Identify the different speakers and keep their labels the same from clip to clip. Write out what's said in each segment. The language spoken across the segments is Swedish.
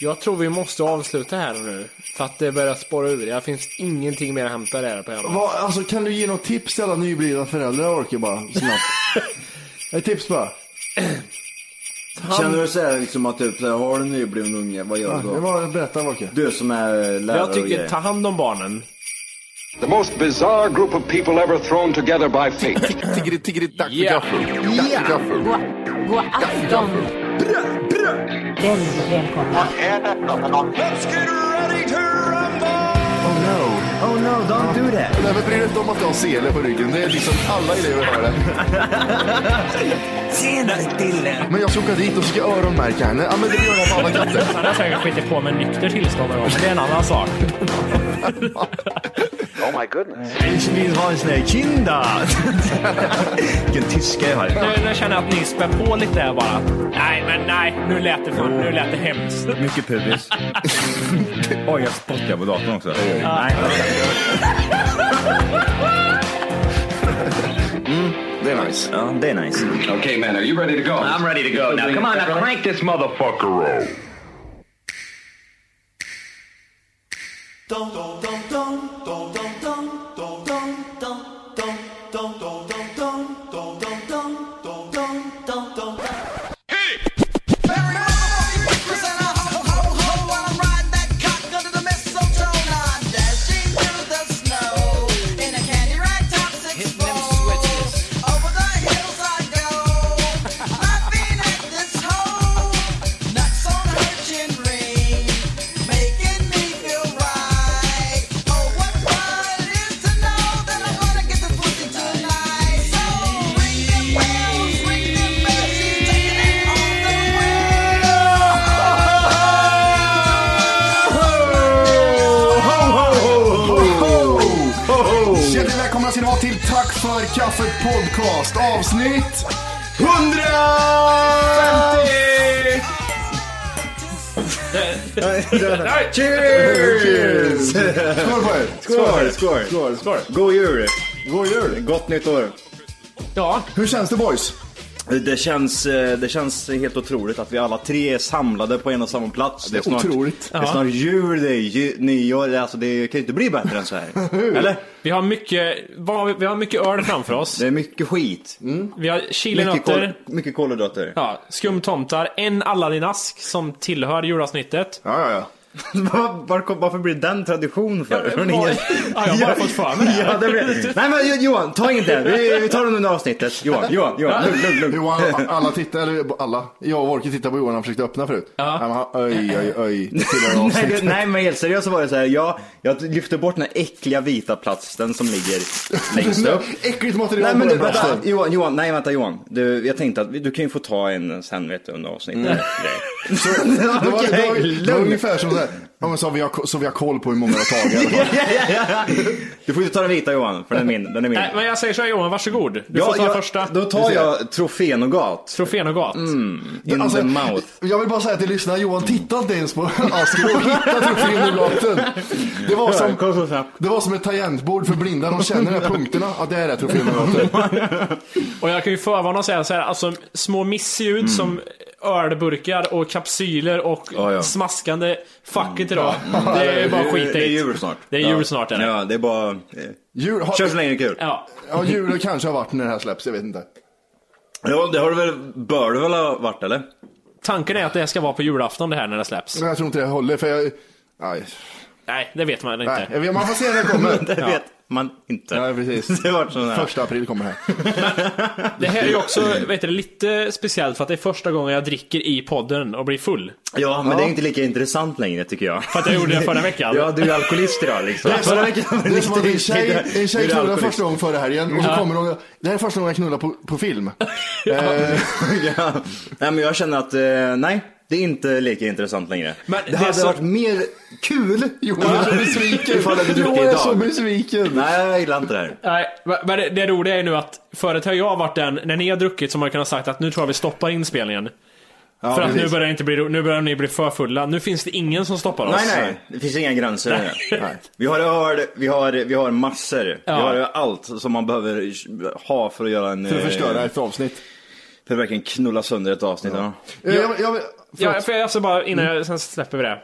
Speaker 1: Jag tror vi måste avsluta här nu. För att det börjar spåra ur. Det finns ingenting mer att hämta där på hemma.
Speaker 2: Vad, alltså, kan du ge något tips till alla nyblivna föräldrar jag orkar bara snabbt? Ett tips bara.
Speaker 3: Känner du så här liksom att typ, så här, har du en nybliven unge, vad gör du
Speaker 2: Det
Speaker 3: då?
Speaker 2: var, berätta Volke.
Speaker 3: Du som är lärare
Speaker 1: Jag
Speaker 3: och
Speaker 1: tycker
Speaker 3: grejer.
Speaker 1: ta hand om barnen.
Speaker 4: The most bizarre group of people ever thrown together by fate.
Speaker 5: Tiggeri, tiggeri, dack för
Speaker 1: Yeah.
Speaker 5: gaffel. Dack för gaffel.
Speaker 6: God afton! Väldigt välkomna.
Speaker 2: Oh no.
Speaker 3: Oh no, don't do that!
Speaker 5: Nej men bry dig inte om att jag har sele på ryggen. Det är liksom alla elever har det.
Speaker 3: Tjena killen!
Speaker 5: Men jag ska åka dit och ska öronmärka henne. Ja men det gör jag på alla katter.
Speaker 7: Han har säkert skitit på med nykter tillstånd och men det är en annan sak.
Speaker 4: oh my goodness.
Speaker 3: Ich vill ha en sån här kinda! Vilken tyska jag har.
Speaker 7: Nu, nu känner jag att ni spär på lite här bara. Nej, men nej. Nu lät det för, nu lät det hemskt.
Speaker 8: Mycket pubis. Oj, jag spottar på datorn också. Nej,
Speaker 5: Det är nice.
Speaker 3: Ja, det är nice.
Speaker 4: Okay, man, are you ready to go? I'm ready to go. Now, come on, now crank this motherfucker up.
Speaker 9: Oh,
Speaker 5: Hjärtligt välkomna ska ni vara till Tack för kaffet podcast avsnitt
Speaker 3: 150! Cheers!
Speaker 5: Skål på er!
Speaker 3: Skål, skål, skål, skål. God jul!
Speaker 5: God jul!
Speaker 3: Gott nytt år!
Speaker 1: Ja,
Speaker 5: Hur känns det boys?
Speaker 3: Det känns, eh, det känns helt otroligt att vi alla tre är samlade på en och samma plats.
Speaker 5: Det är otroligt.
Speaker 3: Det är snart jul, det är ju, nyår, det är alltså det kan ju inte bli bättre än så här. Eller?
Speaker 1: vi har mycket, vad har vi, vi har mycket öl framför oss.
Speaker 3: Det är mycket skit.
Speaker 1: Vi har
Speaker 3: Mycket, kol,
Speaker 1: chilinötter,
Speaker 3: mycket kolhydrater.
Speaker 1: ja, skumtomtar, en Aladdin-ask som tillhör julavsnittet.
Speaker 5: Ja, ja, ja.
Speaker 3: Var, var, kom- varför blir den tradition för?
Speaker 1: Ja, var- Ja, jag har bara fått för mig det.
Speaker 3: ja, det blir... Nej men Jo- Johan, ta inget där. Vi, vi tar den under avsnittet. Johan, Johan, Johan. Lugn, lugn, lugn.
Speaker 5: Johan, alla tittar, eller alla, jag och Volke tittar på Johan han försökte öppna förut. Ja. men han, oj, oj, oj. Det tillhör
Speaker 3: Nej,
Speaker 5: avsnittet.
Speaker 3: det- nej men helt seriöst så var det så här. Jag, jag lyfte bort den här äckliga vita plasten som ligger längst upp.
Speaker 5: Äckligt material
Speaker 3: Nej men
Speaker 5: på den
Speaker 3: du, vänta,
Speaker 5: platsen.
Speaker 3: Johan, Johan, nej vänta Johan. Du, jag tänkte att vi- du kan ju få ta en sen vet du under avsnittet.
Speaker 1: Mm.
Speaker 5: Det var, det, var,
Speaker 3: Okej,
Speaker 5: det var
Speaker 3: lugn.
Speaker 5: ungefär som det här. Ja, men så, har vi har, så vi har koll på hur många det har tagit. i alla fall.
Speaker 3: Du får ju ta den vita Johan, för den är min. Den är min.
Speaker 1: Nej, Äh, men jag säger så här Johan, varsågod. Du får ta
Speaker 3: jag,
Speaker 1: första.
Speaker 3: Då tar jag trofénogat.
Speaker 1: Trofénogat.
Speaker 3: In
Speaker 5: Alltså,
Speaker 3: the mouth.
Speaker 5: Jag vill bara säga till lyssnarna, Johan tittade inte ens på asken och hittade trofén i blaten. Det var som, det var som ett tangentbord för blinda, de känner de här punkterna. Ja, det är det trofén i blaten.
Speaker 1: Och jag kan ju förvarna och säga så här, alltså små missljud
Speaker 3: Mm.
Speaker 1: som ölburkar och kapsyler och
Speaker 3: Ja, ja.
Speaker 1: smaskande facket idag. Det är ju bara skit
Speaker 3: Det är
Speaker 1: i.
Speaker 3: jul snart.
Speaker 1: Det är jul snart är det.
Speaker 3: Ja, det är bara... eh,
Speaker 5: Jul, har,
Speaker 3: Kör så länge det är kul.
Speaker 1: Ja.
Speaker 5: ja, jul kanske har varit när det här släpps, jag vet inte.
Speaker 3: Ja, det har du väl... Bör du väl ha varit eller?
Speaker 1: Tanken är att det här ska vara på julafton det här när det släpps.
Speaker 5: Men jag tror inte det håller, för jag... Nej.
Speaker 1: Nej, det vet man inte.
Speaker 5: Nej, jag vet- man får se när det kommer. Det vet
Speaker 1: man inte.
Speaker 5: Ja, precis.
Speaker 1: Det vart sån här.
Speaker 5: Första april kommer det här.
Speaker 1: Det här är ju också
Speaker 3: Mm.
Speaker 1: vet du, lite speciellt för att det är första gången jag dricker i podden och blir full.
Speaker 3: Ja, men det är inte lika intressant längre tycker jag. För
Speaker 1: att jag gjorde det förra veckan.
Speaker 3: ja, du är alkoholist idag liksom.
Speaker 5: Det är som,
Speaker 3: Förra veckan var
Speaker 5: det är som att en
Speaker 3: nykterist,
Speaker 5: tjej,
Speaker 3: idag-
Speaker 5: en
Speaker 3: nu
Speaker 5: tjej
Speaker 3: är du
Speaker 5: knullar
Speaker 3: alkoholist.
Speaker 5: första gången förra helgen och så
Speaker 3: Ja.
Speaker 5: kommer hon det här är första gången jag knullar på, på film. Eh,
Speaker 3: ja. Nej, men jag känner att eh, nej, det är inte lika intressant längre.
Speaker 5: Men
Speaker 3: det,
Speaker 5: det
Speaker 3: hade
Speaker 5: är så-
Speaker 3: varit mer kul
Speaker 5: Johan är så besviken.
Speaker 3: ifall det hade druckit
Speaker 5: Johan är
Speaker 3: idag.
Speaker 5: så besviken.
Speaker 3: Nej, jag gillar inte det här.
Speaker 1: Nej, men det, det roliga är nu att förut har jag varit den, när ni har druckit som har kunnat sagt att nu tror jag vi stoppar inspelningen.
Speaker 3: Ja,
Speaker 1: för att nu
Speaker 3: precis.
Speaker 1: börjar, det inte bli, ro- nu börjar ni bli för fulla. Nu finns det ingen som stoppar oss.
Speaker 3: Nej, nej, det finns inga gränser
Speaker 1: Nej.
Speaker 3: längre. Vi har öl, vi har, vi har massor.
Speaker 1: Ja.
Speaker 3: Vi har allt som man behöver ha för att göra en...
Speaker 5: För att
Speaker 3: eh,
Speaker 5: förstöra ett avsnitt.
Speaker 3: För att verkligen knulla sönder ett avsnitt. Ja.
Speaker 5: jag, jag, jag,
Speaker 1: Ja, för jag, alltså bara innan
Speaker 3: Mm.
Speaker 1: jag, sen släpper vi det.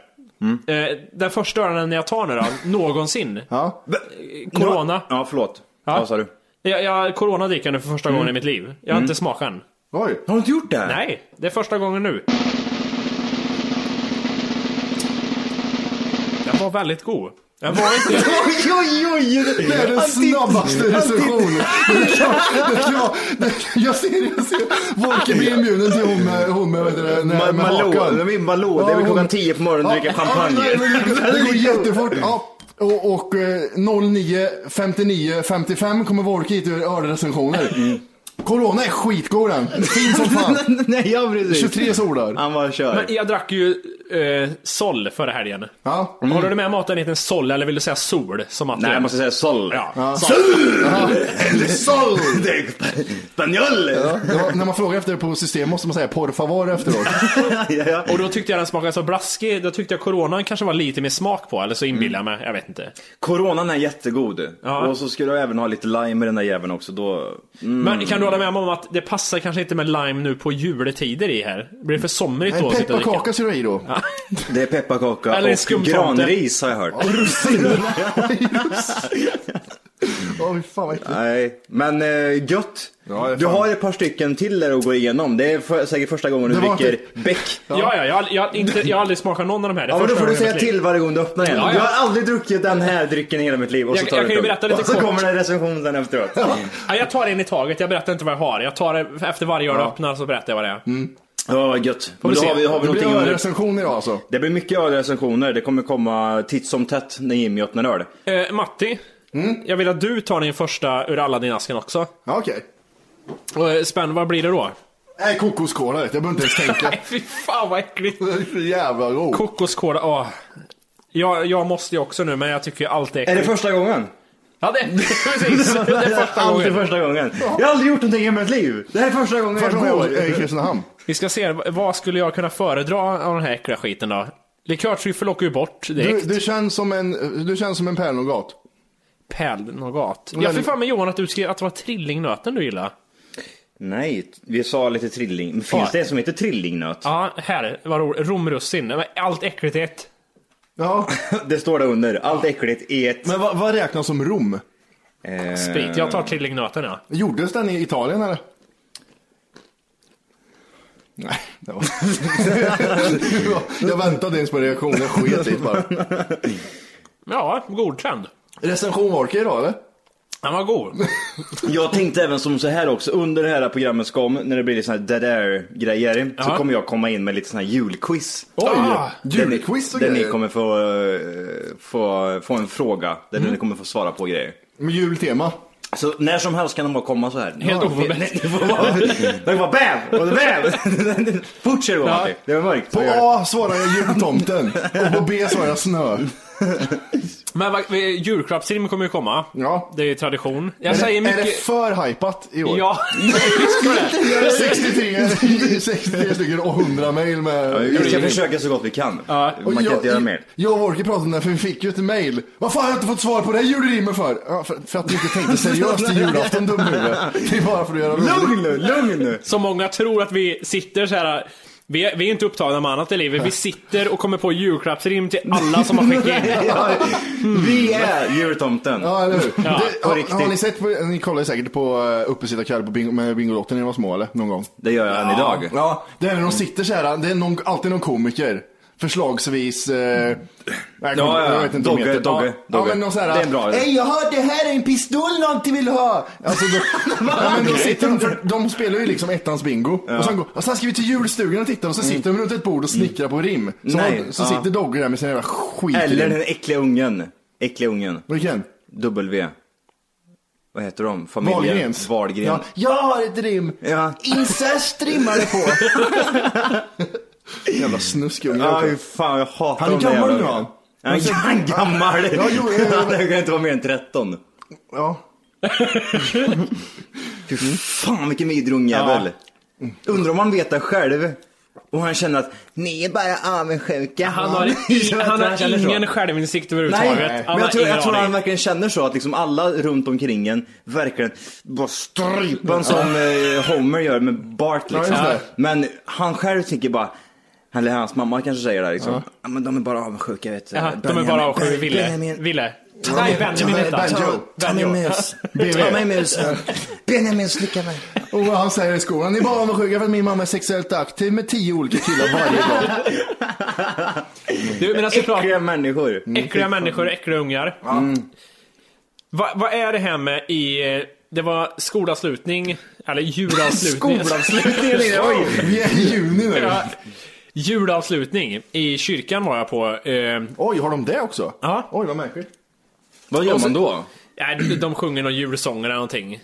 Speaker 1: Eh, den första ölen jag tar nu då, någonsin.
Speaker 5: Ja.
Speaker 1: Corona.
Speaker 3: Ja, förlåt.
Speaker 1: Ja.
Speaker 3: Vad sa du?
Speaker 1: Jag, jag, corona dricker jag nu för första gången i mitt liv. Jag har
Speaker 3: Mm.
Speaker 1: inte smakat än.
Speaker 5: Oj.
Speaker 3: Har du inte gjort det?
Speaker 1: Nej, det är första gången nu. Den var väldigt god. Den var inte...
Speaker 3: oj, oj, oj!
Speaker 5: Det är den snabbaste recensionen. Det är klart- det är klart- det- Jag ser, jag ser. Volker blir inbjuden till hon med, hon med, vad heter det, med, med
Speaker 3: Malou,
Speaker 5: hakan.
Speaker 3: det är Malou. Det är väl
Speaker 5: Ja,
Speaker 3: klockan
Speaker 5: hon-
Speaker 3: 10 på morgonen och dricker champagne.
Speaker 5: Ja, men det, går- det går jättefort. Ja. Och, och eh, 09, 59, 55 kommer Wolke hit och gör ölrecensioner. Corona är skitgod den. Fin som fan.
Speaker 3: Nej, jag precis.
Speaker 5: 23 solar.
Speaker 3: Han bara kör.
Speaker 1: Men jag drack ju eh, sol förra helgen.
Speaker 5: Ja.
Speaker 1: Håller du med om att den heter sol, eller vill du säga sol? Som att
Speaker 3: Mm. Nej, jag måste säga sol.
Speaker 1: Ja.
Speaker 5: Ja.
Speaker 1: Sol!
Speaker 3: El
Speaker 5: sol!
Speaker 3: Spanjol!
Speaker 5: Ja, det var, när man frågar efter det på system måste man säga por favor efteråt.
Speaker 1: Och då tyckte jag den smakade så blaskig. Då tyckte jag coronan kanske var lite mer smak på, eller så inbillar
Speaker 3: Mm.
Speaker 1: jag mig. Jag vet inte.
Speaker 3: Coronan är jättegod. Och så ska du även ha lite lime i den där jäveln också. Då... Mm.
Speaker 1: Men kan du hålla med om att det passar kanske inte med lime nu på juletider i här? Blir det för somrigt då
Speaker 5: En
Speaker 1: att sitta och dricka?
Speaker 5: pepparkaka ska du ha i då.
Speaker 3: Det är pepparkaka
Speaker 1: Eller
Speaker 3: och
Speaker 1: skumtomte.
Speaker 3: granris har jag hört.
Speaker 5: Och russin. Åh, fy fan vad äckligt.
Speaker 3: Nej, men eh, gött.
Speaker 5: Ja, det är
Speaker 3: du
Speaker 5: fan-
Speaker 3: har ett par stycken till där att gå igenom. Det är för, säkert första gången du
Speaker 5: Det var
Speaker 3: dricker
Speaker 5: inte-
Speaker 3: Beck.
Speaker 1: Ja, ja, jag, har- jag, har inte, jag har aldrig smakat någon av de här. Det är
Speaker 3: Ja, men då
Speaker 1: första
Speaker 3: får du
Speaker 1: gången i
Speaker 3: säga
Speaker 1: mitt liv.
Speaker 3: till varje gång du öppnar en.
Speaker 1: Ja, ja.
Speaker 3: Jag har aldrig druckit den här drycken i hela mitt liv. Och så
Speaker 1: Jag-
Speaker 3: tar
Speaker 1: jag
Speaker 3: du
Speaker 1: kan ju
Speaker 3: ett
Speaker 1: berätta
Speaker 3: tugg.
Speaker 1: lite
Speaker 3: Och så
Speaker 1: kort.
Speaker 3: kommer det en recension sen efteråt.
Speaker 1: Ja, jag tar en i taget, jag berättar inte vad jag har. Jag tar det efter varje öl jag öppnar så berättar jag vad det är.
Speaker 3: Mm. Ja, vad gött.
Speaker 1: Får
Speaker 3: Men
Speaker 1: vi
Speaker 3: då
Speaker 1: se.
Speaker 3: har vi, har vi
Speaker 5: Det blir
Speaker 3: någonting om det.
Speaker 5: ölrecension idag alltså.
Speaker 3: Det blir mycket ölrecensioner. Det kommer komma titt som tätt när Jimmy öppnar öl.
Speaker 1: Eh, Matti,
Speaker 3: Mm.
Speaker 1: jag vill att du tar din första ur alla din asken också.
Speaker 5: Ja, okej.
Speaker 1: Och, eh, Spänn, vad blir det då?
Speaker 5: Nej, kokoskola vet du. Jag behöver inte ens tänka.
Speaker 1: Nej, fy fan vad äckligt.
Speaker 5: Det är så jävla god.
Speaker 1: Kokoskola, åh. Jag, jag måste ju också nu, men jag tycker ju allt är
Speaker 3: Är
Speaker 1: äckligt.
Speaker 3: det första gången?
Speaker 1: Ja, det precis. Det är första
Speaker 3: Alltid
Speaker 1: gången.
Speaker 3: första gången. Jag har aldrig gjort någonting i hela mitt liv. Det här är första gången
Speaker 5: Första gången jag
Speaker 3: jag
Speaker 5: var
Speaker 3: går.
Speaker 5: i Kristinehamn.
Speaker 1: Vi ska se, vad skulle jag kunna föredra av den här äckliga skiten då? Likörtryffel åker ju bort
Speaker 5: Du,
Speaker 1: direkt.
Speaker 5: du, känns som en, du känns som en pärlnougat.
Speaker 1: Pärlnougat. Jag fick för mig Johan att du skrev att det var trillingnöten du gillade.
Speaker 3: Nej, vi sa lite trilling. Men finns
Speaker 1: Ja.
Speaker 3: det en som heter trillingnöt?
Speaker 1: Ja, här. Vad roligt. Romrussin. Men Allt äckligt i ett.
Speaker 5: Ja,
Speaker 3: Det står där under. Allt äckligt i ett.
Speaker 5: men vad, vad räknas som Rom?
Speaker 3: Eh,
Speaker 1: Sprit. Jag tar trillingnöten ja.
Speaker 5: Gjordes den i Italien eller? Nej, det var... jag väntade ens på reaktionen, jag sket i det bara.
Speaker 1: Ja, godkänd.
Speaker 5: Recension Orker idag eller?
Speaker 1: Den var god.
Speaker 3: Jag tänkte även som så här också, under det här programmet kom, när det blir lite såna här dead air grejer, så
Speaker 1: Ja.
Speaker 3: kommer jag komma in med lite sån här julquiz.
Speaker 5: Oj,
Speaker 1: Ah,
Speaker 3: Där ni-
Speaker 5: julquiz och
Speaker 3: Där
Speaker 5: grejer.
Speaker 3: ni kommer få, eh, få, få en fråga, där
Speaker 5: Mm.
Speaker 3: ni kommer få svara på grejer.
Speaker 5: Med jultema.
Speaker 3: Så när som helst kan de bara komma så här.
Speaker 1: Helt oförberett.
Speaker 3: Det var bara, det var BAM! Och det BAM! Fort ska det gå
Speaker 1: Ja.
Speaker 3: Matti. Det var mörkt.
Speaker 5: På A svarar jag jultomten och på B svarar jag snö.
Speaker 1: Men vad- eh, julklappsrim kommer ju komma.
Speaker 5: Ja.
Speaker 1: Det är ju tradition. Jag
Speaker 5: Är det,
Speaker 1: säger
Speaker 5: är det
Speaker 1: mycket...
Speaker 5: för hypat i år?
Speaker 1: Ja, visst var det.
Speaker 5: 63, 63 stycken och 100 mejl med...
Speaker 3: Vi ska försöka så gott vi kan. Man kan inte göra mer.
Speaker 5: Jag och Orke pratade om det, här, för vi fick ju ett mail. Vad fan har jag inte fått svar på det här julrimmet för? Ja, för? För att du inte tänkte seriöst i julafton, dumhuvud. Det är bara för att göra roligt.
Speaker 3: Lugn nu, lugn nu!
Speaker 1: Så många tror att vi sitter så här Vi är, vi är inte upptagna med annat i livet. Vi sitter och kommer på julklappsrim till alla som har skickat in. Mm.
Speaker 3: Vi är jultomten.
Speaker 5: Ja, eller hur?
Speaker 1: Ja,
Speaker 5: det,
Speaker 3: på
Speaker 5: har,
Speaker 3: riktigt.
Speaker 5: har ni sett, på, ni kollar säkert på eh, Uppesittarkväll på bingo, med Bingolotten när ni var små eller? Någon gång?
Speaker 3: Det gör jag än idag.
Speaker 5: Ja, det är när de sitter så här, det är någon, alltid någon komiker. Förslagsvis... Eh, nej, jag kommer-
Speaker 3: ja, ja.
Speaker 5: jag vet inte vad de
Speaker 3: Dogge,
Speaker 5: heter.
Speaker 3: Dogge,
Speaker 5: ja,
Speaker 3: Dogge.
Speaker 5: Ja, men någon så här,
Speaker 3: Det är en bra-
Speaker 5: Hej, jag hörde det här är en pistol någonting vill ha! Alltså, då, ja, men då sitter de, för de spelar ju liksom ettans bingo. Och, sen går, och sen ska vi till julstugan och titta och så sitter de runt ett bord och snickrar på rim. Så,
Speaker 3: Mm. Nej,
Speaker 5: så
Speaker 3: ja.
Speaker 5: sitter Dogge där med sin jävla skit.
Speaker 3: Eller den äckliga ungen. Äckliga ungen.
Speaker 5: Vilken?
Speaker 3: W. Vad heter de? Familjen?
Speaker 5: Wahlgrens.
Speaker 3: Wahlgren.
Speaker 5: Ja, jag har ett rim.
Speaker 3: Ja.
Speaker 5: Incest rimmar det på. Jävla snuskunge.
Speaker 3: Ja, fy fan jag hatar
Speaker 5: Han är
Speaker 3: de där
Speaker 5: gammal
Speaker 3: jävla
Speaker 5: nu,
Speaker 3: ungarna.
Speaker 5: han.
Speaker 3: Han är han gammal!
Speaker 5: Ja, jo, jo, jo.
Speaker 3: Han kan inte vara mer än 13.
Speaker 5: Ja.
Speaker 3: Fy fan vilken vidrig ungjävel. Undrar om han vet det själv. Och han känner att ni är bara avundsjuka.
Speaker 1: Han har, i, han har ingen självinsikt
Speaker 3: Nej,
Speaker 1: överhuvudtaget.
Speaker 3: men
Speaker 1: Han
Speaker 3: jag
Speaker 1: har
Speaker 3: tror,
Speaker 1: ingen
Speaker 3: jag tror
Speaker 1: aning.
Speaker 3: han verkligen känner så att liksom alla runt omkring en verkligen bara strypan som eh, Homer gör med Bart liksom.
Speaker 5: just det.
Speaker 3: Men han själv tänker bara, eller hans mamma kanske säger det här, liksom. Ja. Men de är bara avundsjuka vet du.
Speaker 1: Ja, de är
Speaker 3: Benjamin-
Speaker 1: bara avskyr
Speaker 3: Ben-
Speaker 1: Ville.
Speaker 3: Benjamin-
Speaker 1: Ville. Nej, Benjamin
Speaker 3: Ta-
Speaker 1: hette han.
Speaker 3: ta- Ta mig
Speaker 1: Benjo.
Speaker 3: mus.
Speaker 5: BV.
Speaker 3: Ta mig musen. Benjamin slicka mig.
Speaker 5: Och vad han säger i skolan, ni är bara avundsjuka för att min mamma är sexuellt aktiv med tio olika killar varje dag.
Speaker 1: Du, men alltså, klart,
Speaker 3: Äckliga människor. Mm.
Speaker 1: äckliga människor, äckliga ungar. Va- Vad är det här med i... eh, Det var skolavslutning, eller julavslutning.
Speaker 3: Skolavslutningen, oj.
Speaker 5: Vi är i juni nu.
Speaker 1: Ja, julavslutning. I kyrkan var jag på. Eh,
Speaker 5: Oj, har de det också?
Speaker 1: Ja.
Speaker 5: Oj, vad märkligt.
Speaker 3: Vad gör man då?
Speaker 1: nej, de- äh, de sjunger någon julsånger eller någonting.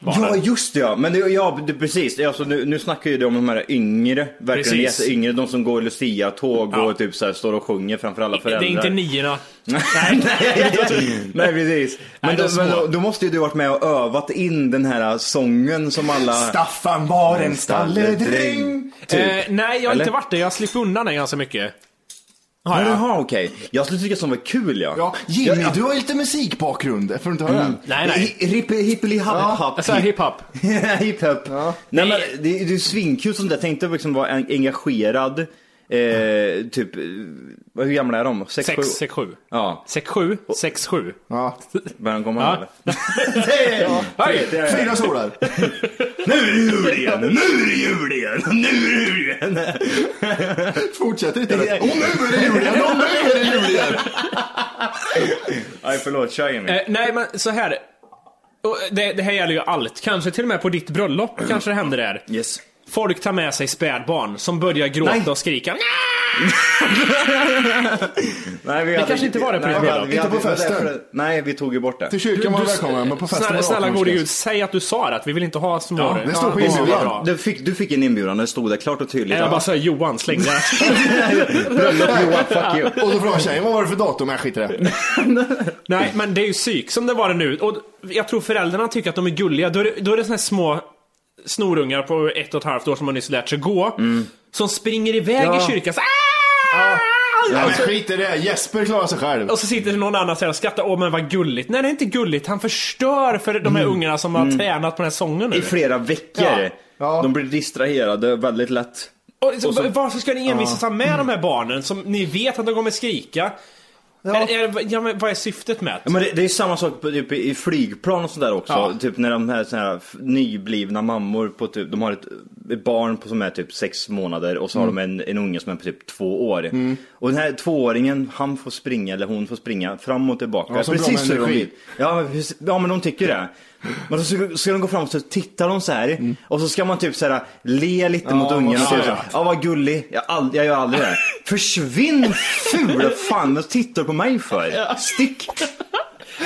Speaker 1: Var
Speaker 3: Ja
Speaker 1: det.
Speaker 3: just det ja, men det, ja, det, precis. Alltså, nu, nu snackar ju du om de här yngre, verkligen
Speaker 1: Precis.
Speaker 3: jätteyngre, de som går Lucia-tåg
Speaker 1: Ja.
Speaker 3: och typ så här, står och sjunger framför alla
Speaker 1: det
Speaker 3: föräldrar.
Speaker 1: är inte niorna.
Speaker 3: Nej, nej, nej precis. Men,
Speaker 1: Nej, de
Speaker 3: då, men
Speaker 1: små.
Speaker 3: då, då måste ju du varit med och övat in den här sången som alla...
Speaker 5: Staffan var en stalledräng.
Speaker 3: Typ.
Speaker 1: Eh, nej, jag har
Speaker 3: Eller?
Speaker 1: inte varit där. Jag har slippt undan den ganska mycket.
Speaker 3: Ja,
Speaker 1: Har jag.
Speaker 3: Jaha okej. Jag skulle tycka som var kul ja.
Speaker 5: Ja, Mm. Jimmy, du har ju lite musikbakgrund. Får du inte höra den?
Speaker 1: Nej, nej.
Speaker 3: Hi- Hipp, hippeli happ happ.
Speaker 1: Alltså hiphop.
Speaker 3: Hiphop. Nej men det, det är ju svinkul sånt där. Tänk dig att liksom vara en, engagerad. Eh, typ, eh, hur gamla är de? Sex, sju?
Speaker 1: Sex, sex, sju.
Speaker 3: Ja,
Speaker 1: Sex, sju, sex, sju.
Speaker 5: Ja.
Speaker 3: börjar de komma
Speaker 1: Ja.
Speaker 3: här eller? ja.
Speaker 1: Hej!
Speaker 5: Fyra solar.
Speaker 3: Nu är det jul igen, nu är det jul igen, nu är det jul igen.
Speaker 5: Fortsätter inte. Åh, nu är det jul igen. Åh, nu är det jul igen.
Speaker 3: Nej förlåt, kör Jimmy.
Speaker 1: Eh, nej, men så här. Och Det, det här gäller ju allt. Kanske till och med på ditt bröllop kanske det hände där.
Speaker 3: Yes.
Speaker 1: Folk tar med sig spädbarn som börjar gråta
Speaker 3: Nej.
Speaker 1: och skrika.
Speaker 3: Nej, vi
Speaker 1: Det kanske inte var det på ditt bröllop.
Speaker 3: vi hade-
Speaker 5: Inte på festen.
Speaker 3: därför- Nej, vi tog ju bort det.
Speaker 5: Till kyrkan var
Speaker 1: Du-
Speaker 5: du välkommen, men på festen var
Speaker 1: snälla,
Speaker 5: du
Speaker 1: snälla gode
Speaker 5: avundsjuk.
Speaker 1: gud, säg att du sa det, att vi vill inte ha små.
Speaker 5: Ja, det står på inbjudan.
Speaker 1: bra.
Speaker 3: Du fick, du fick en inbjudan, det stod där klart och tydligt.
Speaker 1: Jag bara säger Johan, släng det.
Speaker 3: Bröllop Johan, fuck you.
Speaker 5: Och då frågade tjejen, vad var det för datum? Jag skiter i det.
Speaker 1: Nej, men det är ju psyk som det var det nu. Och jag tror föräldrarna tycker att de är gulliga. Då är det, då är det såna här små snorungar på ett och ett halvt år som har nyss lärt sig gå. Som springer iväg i kyrkan så, "Ah!"
Speaker 5: Ja, men
Speaker 1: Alltså,
Speaker 5: skit i det. Jesper klarar sig själv.
Speaker 1: Och så sitter någon annan så här och skrattar. Åh, men vad gulligt. Nej, det är inte gulligt. Han förstör för de här ungarna som har tränat på den här sången nu.
Speaker 3: I flera veckor.
Speaker 1: Ja.
Speaker 5: Ja.
Speaker 3: De blir distraherade väldigt lätt.
Speaker 1: Och så, Mm. varför ska ni envisas ha med de här barnen som ni vet att de kommer skrika? Ja. Är, är, ja, men vad är syftet med
Speaker 3: Ja, men det, det är samma sak på, typ, i flygplan och sådär också.
Speaker 1: Ja.
Speaker 3: Typ när de här, såna här f- nyblivna mammor på typ, de har ett, ett barn på, som är typ sex månader och så har de en, en unge som är på typ två år. Och den här tvååringen, han får springa eller hon får springa fram och tillbaka.
Speaker 5: Ja, så bra med
Speaker 3: hur de
Speaker 5: energi.
Speaker 3: vill. Ja, men precis- ja men de tycker det. Men då ska, ska de gå fram och så tittar de så här och så ska man typ så här le lite mot ungen och
Speaker 5: vad
Speaker 3: typ så
Speaker 5: söt.
Speaker 3: här, ja vad gullig, jag, ald- jag gör aldrig det. Försvinn ful fan, vad tittar du på mig för? Stick!
Speaker 1: det?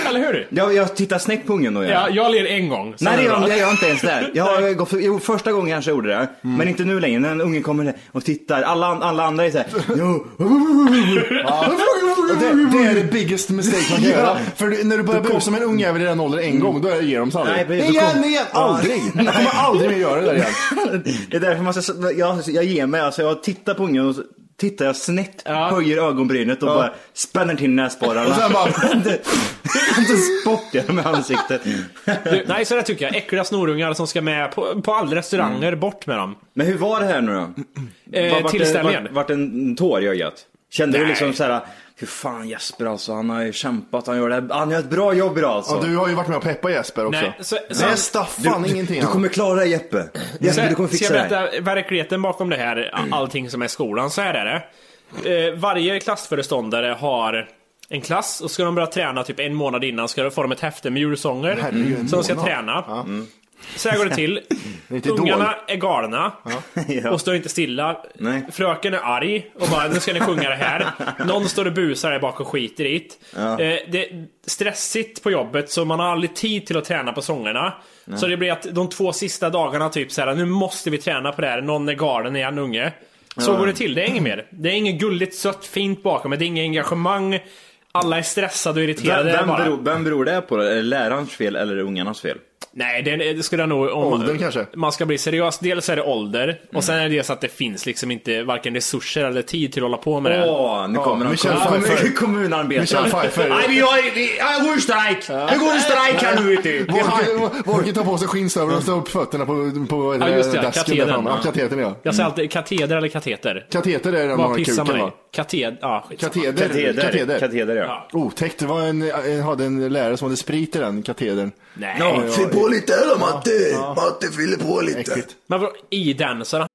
Speaker 1: Eller hur?
Speaker 3: Jag, jag tittar snett på ungen och gör
Speaker 1: Ja,
Speaker 3: det.
Speaker 1: jag ler en gång. sen
Speaker 3: Nej det
Speaker 1: är
Speaker 3: gör
Speaker 1: det
Speaker 3: jag,
Speaker 1: bra.
Speaker 3: jag gör inte ens det. Jag har gått för, jo, första gången kanske jag gjorde det,
Speaker 5: Mm.
Speaker 3: men inte nu längre. När en unge kommer där och tittar, alla, an- alla andra är såhär jo. oh,
Speaker 5: Ja. Och Det, det är the biggest mistake man kan
Speaker 3: Ja.
Speaker 5: göra. För du- när du börjar busa med en unge över i den åldern en gång, då ger de sig aldrig.
Speaker 3: Nej, precis. Då
Speaker 5: igen,
Speaker 3: kom-
Speaker 5: igen,
Speaker 3: Ja.
Speaker 5: aldrig. Jag kommer aldrig mer göra det där igen.
Speaker 3: Det är därför man ska, jag, jag ger mig alltså. Jag tittar på ungen och så tittar jag snett, höjer ögonbrynet och
Speaker 5: Ja.
Speaker 3: bara spänner till näsborrarna.
Speaker 5: Och sen bara-
Speaker 3: Sen spottar jag med ansiktet.
Speaker 1: Du, nej, så det tycker jag. Äckliga snorungar som ska med på, på alla restauranger. Bort med dem.
Speaker 3: Men hur var det här nu då?
Speaker 1: Eh,
Speaker 3: Var- Mm. vart det-
Speaker 1: tillställningen.
Speaker 3: Vart, vart en tår i ögat? Kände du
Speaker 1: Nej.
Speaker 3: liksom såhär, hur fan Jesper alltså, han har ju kämpat, han gör det här, han gör ett bra jobb idag alltså.
Speaker 5: Ja, du har ju varit med och peppat Jesper också.
Speaker 1: Nej, så- så-
Speaker 5: Nej, staffan
Speaker 3: du,
Speaker 5: ingenting.
Speaker 3: Du
Speaker 5: annat.
Speaker 3: kommer klara det
Speaker 1: Mm.
Speaker 3: Jeppe. Jeppe,
Speaker 1: Sen
Speaker 3: du kommer fixa
Speaker 1: ska
Speaker 3: det
Speaker 1: jag
Speaker 3: här. Mm.
Speaker 1: berätta verkligheten bakom det här, a- allting som är skolan. Så här är det. Eh, varje klassföreståndare har en klass och ska de börja träna typ en månad innan ska de få dem ett häfte med djursånger
Speaker 5: Herregud, en
Speaker 1: som de ska
Speaker 5: månad.
Speaker 1: träna.
Speaker 3: Mm.
Speaker 1: Så här går det till.
Speaker 5: Lite dåligt.
Speaker 1: Ungarna är galna och står inte stilla.
Speaker 3: Nej.
Speaker 1: Fröken är arg och bara nu ska ni sjunga det här. Någon står och busar där bak och skiter i det.
Speaker 3: Ja.
Speaker 1: Eh, det är stressigt på jobbet så man har aldrig tid till att träna på sångerna. Så det blir att de två sista dagarna typ så här, nu måste vi träna på det här, någon är galen igen unge. Så
Speaker 3: Ja.
Speaker 1: går det till, det är inget mer. Det är inget gulligt, sött, fint bakom det, det är inget engagemang. Alla är stressade och irriterade.
Speaker 3: Vem,
Speaker 1: Det är
Speaker 3: vem,
Speaker 1: bara-
Speaker 3: beror, vem beror det på? Är det lärarens fel eller är det ungarnas fel?
Speaker 1: Nej, det, det skulle jag nog... Om
Speaker 5: Åldern kanske?
Speaker 1: man ska bli seriös, dels är det ålder
Speaker 3: Mm.
Speaker 1: och sen är det så att det finns liksom inte varken resurser eller tid till att hålla på med det.
Speaker 3: Åh, nu
Speaker 5: Ja,
Speaker 3: kommer han.
Speaker 5: Michelle
Speaker 3: Kom-
Speaker 5: Pfeiffer.
Speaker 3: Kommunarbetaren.
Speaker 5: Michelle Pfeiffer.
Speaker 3: Nej, vi har... Vi, jag går i strejk! Jag går i strejk här nu vet du.
Speaker 5: Vorke- Vorke tar på sig skinnstövlar och står upp fötterna på, på vad heter
Speaker 1: Ja, just det,
Speaker 5: desken där
Speaker 1: katedern.
Speaker 5: framme. Ja, katedern ja.
Speaker 1: Jag säger alltid kateder eller kateter.
Speaker 5: Kateter är den man
Speaker 1: Vad
Speaker 5: har
Speaker 1: pissar man
Speaker 5: kuken
Speaker 1: i?
Speaker 5: va?
Speaker 1: Kateder? Ja, skitsamma.
Speaker 5: Kateder.
Speaker 3: Kateder. Kateder. Kateder, ja.
Speaker 5: Otäckt, Oh, det var en, en, hade en lärare som hade sprit i den katedern.
Speaker 1: Nej.
Speaker 3: Ja, fyll på lite öl då Matte! Matte fyller på lite.
Speaker 5: Äckligt.
Speaker 1: Men vadå i-dansarna?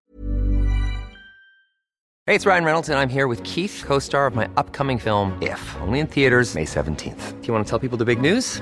Speaker 10: Hey, it's Ryan Reynolds, and I'm here with Keith, co star of my upcoming film, If, only in theaters, May 17th. Do you want to tell people the big news?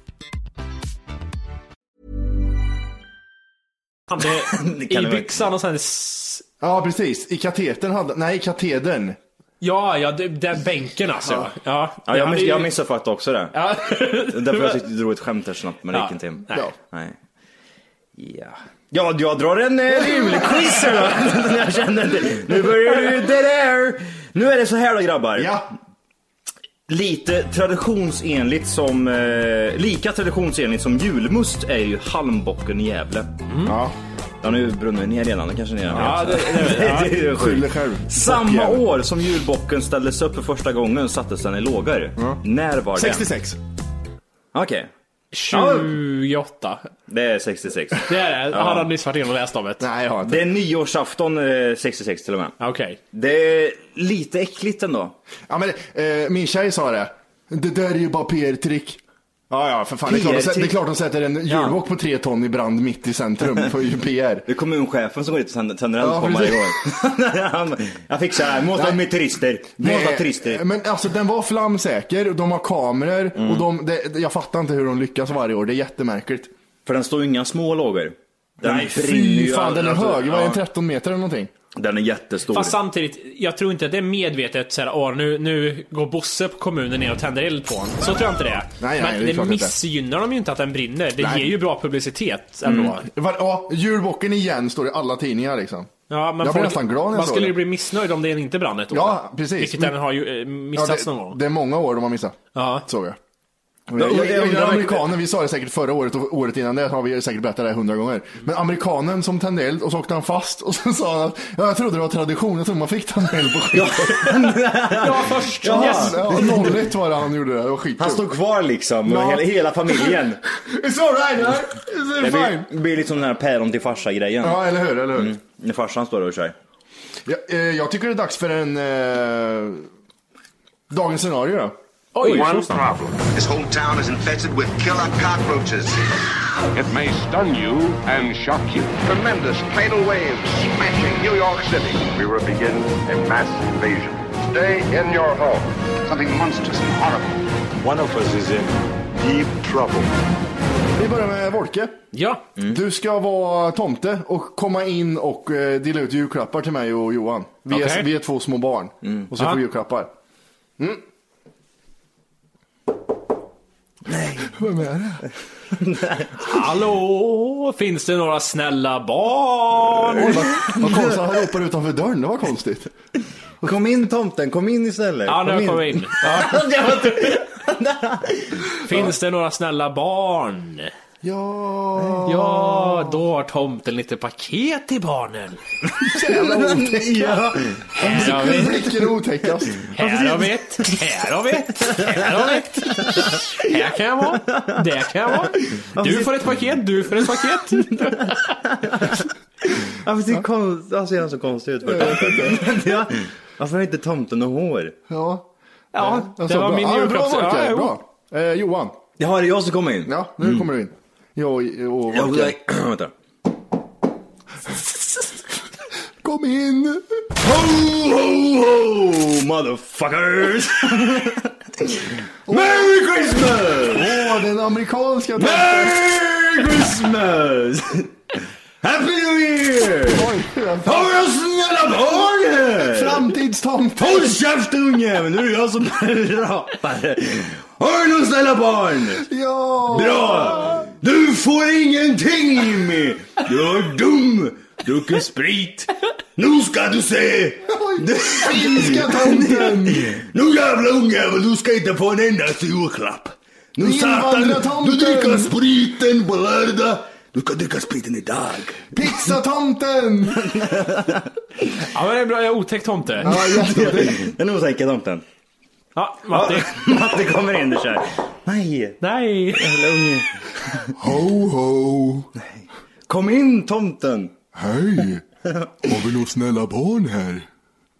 Speaker 1: Han
Speaker 3: Det
Speaker 1: är
Speaker 3: kan
Speaker 1: I
Speaker 3: det vara.
Speaker 1: byxan och sen... s-
Speaker 5: Ja, precis. I katedern hade Nej, i katedern.
Speaker 1: Ja, ja, det- den bänken alltså. Ja, ja.
Speaker 3: Ja, jag,
Speaker 1: han
Speaker 3: miss,
Speaker 1: är ju-
Speaker 3: jag missuppfattade också det.
Speaker 1: Ja.
Speaker 3: Därför jag tyckte du drog ett skämt där snabbt, men det
Speaker 1: Ja.
Speaker 3: gick inte hem.
Speaker 1: Nej.
Speaker 5: Ja.
Speaker 3: Nej. Ja. ja, jag drar en eh, rimlig quiz här då. jag känner inte. Nu börjar du det där. Nu är det så här då grabbar.
Speaker 5: Ja.
Speaker 3: Lite traditionsenligt som, eh, lika traditionsenligt som julmust är ju halmbocken i Gävle.
Speaker 5: Ja,
Speaker 3: Ja nu brunnit ner redan, det kanske ni redan
Speaker 1: Mm. Ja,
Speaker 3: vet.
Speaker 1: det- det- ja.
Speaker 3: Det är ju sjukt.
Speaker 5: skyll dig själv.
Speaker 3: Samma
Speaker 5: Bockjävel.
Speaker 3: år som julbocken ställdes upp för första gången sattes den i lågor. När var det?
Speaker 5: 66.
Speaker 3: Okej,
Speaker 1: 28.
Speaker 3: det är 66.
Speaker 1: Det är det. Han hade nyss varit inne och läst om det.
Speaker 5: Nej, jag har inte.
Speaker 3: Det är nyårsafton eh, 66 till och med.
Speaker 1: Okej.
Speaker 3: Det är lite äckligt ändå.
Speaker 5: Ja, men, eh, min tjej sa det. Det där är ju bara PR-trick. Ja, ja, för fan. Det är, klart de, sä- det är klart de sätter en julbock på tre ton i brand mitt i centrum för ju PR.
Speaker 3: Det är kommunchefen som går dit och tänder eld
Speaker 5: Ja,
Speaker 3: på mig
Speaker 5: precis.
Speaker 3: igår. Han- Jag fixar det här, måste med turister. Måste
Speaker 5: Det-
Speaker 3: turister.
Speaker 5: Men alltså den var flamsäker, och de har kameror och de, det, jag fattar inte hur de lyckas varje år. Det är jättemärkligt.
Speaker 3: För den står inga små lågor. Den
Speaker 5: Nej,
Speaker 3: brinner
Speaker 5: fy
Speaker 3: ju
Speaker 5: fan,
Speaker 3: all-
Speaker 5: den är
Speaker 3: alltså,
Speaker 5: hög. Vad är den,
Speaker 3: ja,
Speaker 5: 13 meter eller någonting?
Speaker 3: Den är jättestor.
Speaker 1: Fast samtidigt, jag tror inte att det är medvetet såhär, åh nu, nu går Bosse på kommunen ner och tänder eld på honom. Så tror jag inte det är.
Speaker 5: nej,
Speaker 1: Men
Speaker 5: det är
Speaker 1: det,
Speaker 5: klart inte.
Speaker 1: missgynnar dem ju inte att den brinner. Det
Speaker 5: Nej.
Speaker 1: ger ju bra publicitet ändå.
Speaker 5: Var, ja, julbocken igen står det i alla tidningar liksom.
Speaker 1: Ja, men
Speaker 5: jag
Speaker 1: folk-
Speaker 5: blev nästan glad när
Speaker 1: Man
Speaker 5: jag såg
Speaker 1: skulle ju
Speaker 5: det.
Speaker 1: bli missnöjd om den inte brann ett år.
Speaker 5: Ja, precis.
Speaker 1: Vilket
Speaker 5: Men-
Speaker 1: den har ju eh, missats någon
Speaker 5: Ja,
Speaker 1: gång.
Speaker 5: det, det är många år de har missat.
Speaker 1: Ja.
Speaker 5: Såg jag.
Speaker 3: jag
Speaker 5: Jag, jag, jag,
Speaker 3: undrar-
Speaker 5: amerikanen, vi sa det säkert förra året och året innan det har vi säkert berättat det här hundra gånger. Men amerikanen som tände eld och så åkte han fast och sen sa han att ja, jag trodde det var tradition, jag trodde man fick tända eld på skylten.
Speaker 1: Ja, först!
Speaker 5: Ja,
Speaker 1: Yes.
Speaker 5: ja, 01 var det han gjorde det, det var skitkul.
Speaker 3: Han står kvar liksom,
Speaker 5: Ja.
Speaker 3: och hela, hela familjen.
Speaker 5: It's alright, it's
Speaker 3: Det
Speaker 5: fine.
Speaker 3: blir, blir liksom den här päron till farsa grejen.
Speaker 5: Ja, eller hur, eller hur.
Speaker 1: Mm.
Speaker 3: När farsan står och kör.
Speaker 5: Ja, eh, jag tycker det är dags för en... Eh, dagens scenario då.
Speaker 9: Oj, One problem. This whole town is infested with killer cockroaches. It may stun you and shock you. Tremendous tidal waves smashing New York City. We will begin a mass invasion. Stay in your home. Something monstrous and horrible. One of us is in deep trouble.
Speaker 5: Vi börjar med Volke.
Speaker 1: Ja.
Speaker 5: Du ska vara tomte och komma in och eh, dela ut julklappar till mig och Johan. Vi,
Speaker 3: Okej.
Speaker 5: är, vi är två små barn och så
Speaker 3: Ja.
Speaker 5: får vi julklappar. Mm.
Speaker 1: Vem är det? Hallå, finns det några snälla barn?
Speaker 5: Oj, vad, vad konstigt, han ropar utanför dörren, det var konstigt.
Speaker 3: Kom in tomten, kom in istället.
Speaker 1: Ja, nu kommer vi in. Ja. Finns det några snälla barn?
Speaker 5: Ja.
Speaker 1: Ja, då har tomten lite paket till barnen.
Speaker 5: Jävla otäcka.
Speaker 1: Här har vi ett,
Speaker 5: Blicken är otäckast.
Speaker 1: här har vi ett, här har vi ett, här har vi ett. Här kan jag vara, där kan jag vara. Du får ett paket, du får ett paket.
Speaker 3: Varför ser, konst... alltså, ser han så konstig ut? ja. Varför har inte tomten och hår?
Speaker 5: Ja.
Speaker 1: Ja,
Speaker 5: Jag sa Alltså, bra. Ja, Bra Volke, bra. Eh, Johan.
Speaker 3: Ja, det är jag som kommer in.
Speaker 5: Ja, nu kommer du in. Jag och, och
Speaker 3: Ja,
Speaker 5: Volke.
Speaker 3: jag- Vänta.
Speaker 5: Kom in!
Speaker 3: Ho, ho, ho, motherfuckers! Merry Christmas!
Speaker 5: Åh, den amerikanska
Speaker 3: Merry Christmas! Happy New Year! Har jag snälla barn här?
Speaker 5: Framtidstomten!
Speaker 3: Håll käften ungjävel, nu är det jag som rapar. Har du några snälla barn?
Speaker 5: Ja!
Speaker 3: Bra! Du får ingenting Jimmy! Du är dum! Druckit sprit! Nu ska du se!
Speaker 5: Finska tomten!
Speaker 3: Nu jävla ungjävel, du ska inte få en endaste julklapp! Nu satan,
Speaker 5: Invandrartomten!
Speaker 3: du dricker spriten på lördag! Du ska dricka spriten idag!
Speaker 5: Pizzatomten!
Speaker 1: Ja, men det är bra, jag är otäck tomte.
Speaker 5: Ja, jätteotäck.
Speaker 3: Den osäkra tomten.
Speaker 1: Ja, Matti.
Speaker 3: Matte kommer in och kör. Nej!
Speaker 1: Nej!
Speaker 3: Jävla unge.
Speaker 5: Ho, ho!
Speaker 3: Kom in tomten!
Speaker 5: Hej! Har vi några snälla barn här?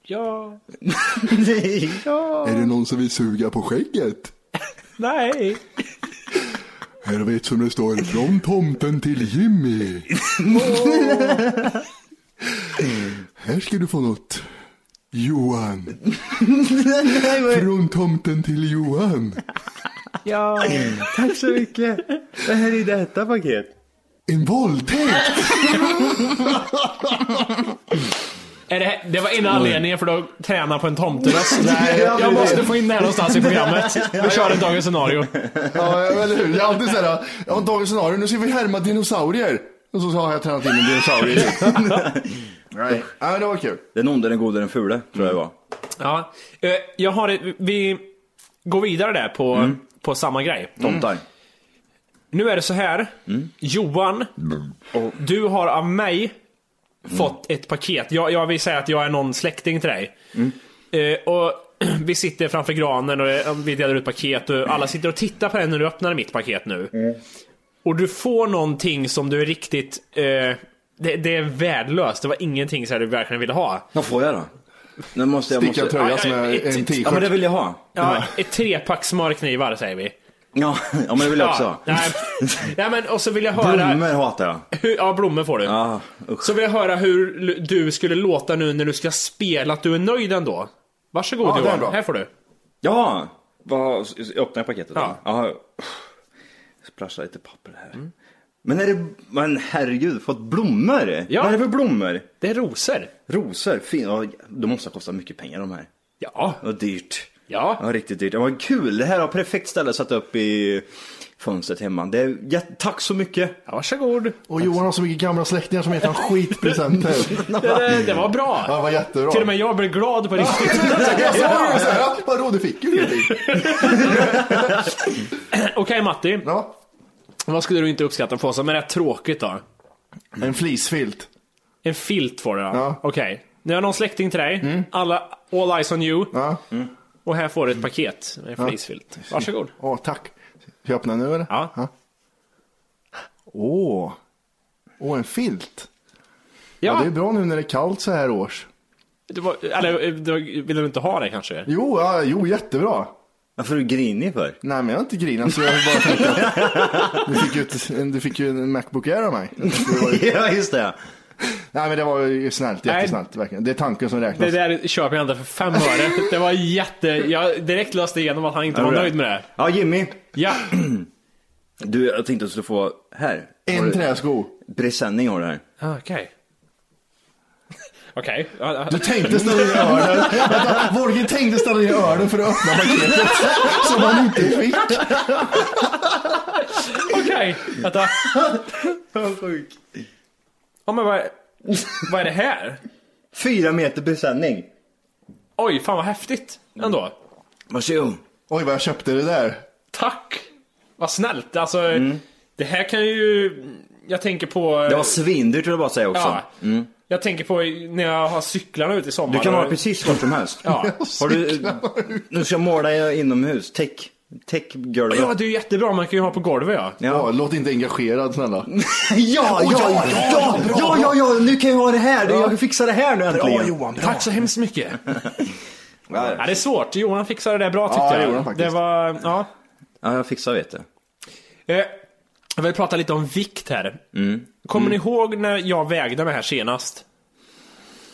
Speaker 1: Ja,
Speaker 3: Nej!
Speaker 5: Är det någon som vill suga på skägget?
Speaker 1: nej.
Speaker 5: Här har vi ett som det står från tomten till Jimmy. Här ska du få något. Johan.
Speaker 3: Nej, vad-
Speaker 5: Från tomten till Johan.
Speaker 1: Ja.
Speaker 3: Tack så mycket! Det här är detta paket.
Speaker 5: En våldtäkt!
Speaker 1: Är det, här- det var ena anledningen för att träna på en tomteröst.
Speaker 5: Nej,
Speaker 1: Jag måste få in det här någonstans i programmet. Vi kör ett dagens scenario.
Speaker 5: Ja, eller hur? Jag har alltid såhär, jag har dagens scenario, nu ska vi härma dinosaurier. Och så har jag tränat in en dinosaurie. Nej, ja, men det var kul.
Speaker 3: Den onde, den gode, den fule, tror jag det var.
Speaker 1: Ja. eh, Jag har ett, vi går vidare där på,
Speaker 5: Mm.
Speaker 1: på samma grej.
Speaker 3: Tomtar.
Speaker 1: Nu är det så här.
Speaker 3: Mm.
Speaker 1: Johan, du har av mig fått ett paket. Jag, jag vill säga att jag är någon släkting till dig.
Speaker 3: Mm.
Speaker 1: Eh, och vi sitter framför granen och eh, vi delar ut paket och alla sitter och tittar på den när du öppnar mitt paket nu.
Speaker 3: Mm.
Speaker 1: Och du får någonting som du är riktigt... Eh, det, det är värdelöst. Det var ingenting så här du verkligen ville ha.
Speaker 3: Vad får jag då? Nu måste jag...
Speaker 5: Stickad
Speaker 3: måste...
Speaker 5: tröja som är en t-shirt.
Speaker 3: Ja men det vill jag ha.
Speaker 1: Ja, ett trepack smörknivar säger vi.
Speaker 3: Ja, ja men det vill jag också
Speaker 1: Ja,
Speaker 3: ha.
Speaker 1: nej, nej, men och så vill jag höra...
Speaker 3: Blommor hatar jag.
Speaker 1: Hur, ja, blommor får du.
Speaker 3: Ja, usch.
Speaker 1: Så vill jag höra hur l- du skulle låta nu när du ska spela, att du är nöjd ändå. Varsågod
Speaker 5: Ja, det är
Speaker 1: Johan,
Speaker 5: bra.
Speaker 1: här får du.
Speaker 3: Ja! Vad, öppnar jag paketet?
Speaker 1: Ja.
Speaker 3: Ja. Jaha. Splashar lite papper här. Men är det, men herregud, fått blommor?
Speaker 1: Ja.
Speaker 3: Vad är det för blommor?
Speaker 1: Det är rosor.
Speaker 3: Rosor, fin. Ja, de måste ha kostat mycket pengar de här.
Speaker 1: Ja.
Speaker 3: Och dyrt.
Speaker 1: Ja.
Speaker 3: ja riktigt dyrt. Ja, vad kul, det här har perfekt ställe att sätta upp i fönstret hemma. Det är, ja, tack så mycket.
Speaker 1: ja varsågod.
Speaker 5: Och Johan har så mycket gamla släktingar som heter han skitpresenter.
Speaker 1: Det, det, det var
Speaker 5: Ja, det
Speaker 1: bra.
Speaker 5: var jättebra.
Speaker 1: Till och med jag blir glad på riktigt.
Speaker 5: Jag sa ju såhär, ja, vadå du fick ju ingenting.
Speaker 1: Okej Matti,
Speaker 5: Ja,
Speaker 1: vad skulle du inte uppskatta att få som är rätt tråkigt då?
Speaker 5: en fleecefilt.
Speaker 1: En filt får du då?
Speaker 5: Ja. Mm.
Speaker 1: Okej. Nu har jag någon släkting till dig. Alla, all eyes on you. Mm.
Speaker 5: Ja,
Speaker 1: Och här får du ett paket med en fleecefilt. Varsågod.
Speaker 5: åh tack. Ska jag öppna nu eller?
Speaker 1: Ja.
Speaker 5: Åh, åh en filt. Ja.
Speaker 1: Ja,
Speaker 5: det är bra nu när det är kallt så här års.
Speaker 1: det var, eller eh, det var- vill du inte ha det kanske?
Speaker 5: Jo, ja, jo jättebra.
Speaker 3: Varför är du grinig för?
Speaker 5: Nej, men jag är inte grinig. Alltså, jag bara tänkte att du fick, ju ett, du fick ju en Macbook Air av mig.
Speaker 3: ja, just det.
Speaker 5: Nej, men det var ju snällt. Jättesnällt. Verkligen. Det är tanken som räknas.
Speaker 1: Det där köper jag inte för fem öre. Det var jätte... Jag direkt löste igenom att han inte var nöjd med det.
Speaker 3: Ja, Jimmy.
Speaker 1: Ja.
Speaker 3: Du, jag tänkte att du skulle få här.
Speaker 5: En
Speaker 3: Har du-
Speaker 5: träsko.
Speaker 3: Presenning har du här.
Speaker 1: Ah, Okej. Okej.
Speaker 5: Du tänkte ställa ner ölen. Vänta, Wolke tänkte ställa ner ölen för att öppna paketet som han inte fick.
Speaker 1: Okej, vänta.
Speaker 3: Vad sjuk.
Speaker 1: Ja, men vad, vad är det här?
Speaker 3: Fyra meter presenning.
Speaker 1: Oj, fan vad häftigt ändå.
Speaker 3: Varsågod.
Speaker 5: Oj, vad jag köpte det där.
Speaker 1: Tack! Vad snällt. Alltså, det här kan ju... Jag tänker på...
Speaker 3: Mm. Det var svindyrt vill jag bara säga också.
Speaker 1: Ja. Mm. Jag tänker på när jag har cyklarna ute i sommar.
Speaker 3: Du kan vara
Speaker 1: Och-
Speaker 3: precis vart som helst.
Speaker 1: Ja.
Speaker 3: Har du, nu ska jag måla inomhus. Täck, täck golvet.
Speaker 1: Ja, det är ju jättebra. Man kan ju ha på golvet ja.
Speaker 5: Ja, låt inte engagerad snälla.
Speaker 3: Ja,
Speaker 5: Åh, ja, ja, bra,
Speaker 3: ja, ja, ja, nu kan jag ha det här. Jag fixar det här nu äntligen.
Speaker 1: Tack så hemskt mycket. ja, det är svårt. Johan fixade det bra tyckte
Speaker 3: Ja, det
Speaker 1: jag.
Speaker 3: gjorde han faktiskt.
Speaker 1: Det var... Ja.
Speaker 3: Ja, jag fixar vet du.
Speaker 1: Eh, Jag vill prata lite om vikt här.
Speaker 3: Mm.
Speaker 1: Kommer ni ihåg när jag vägde mig här senast?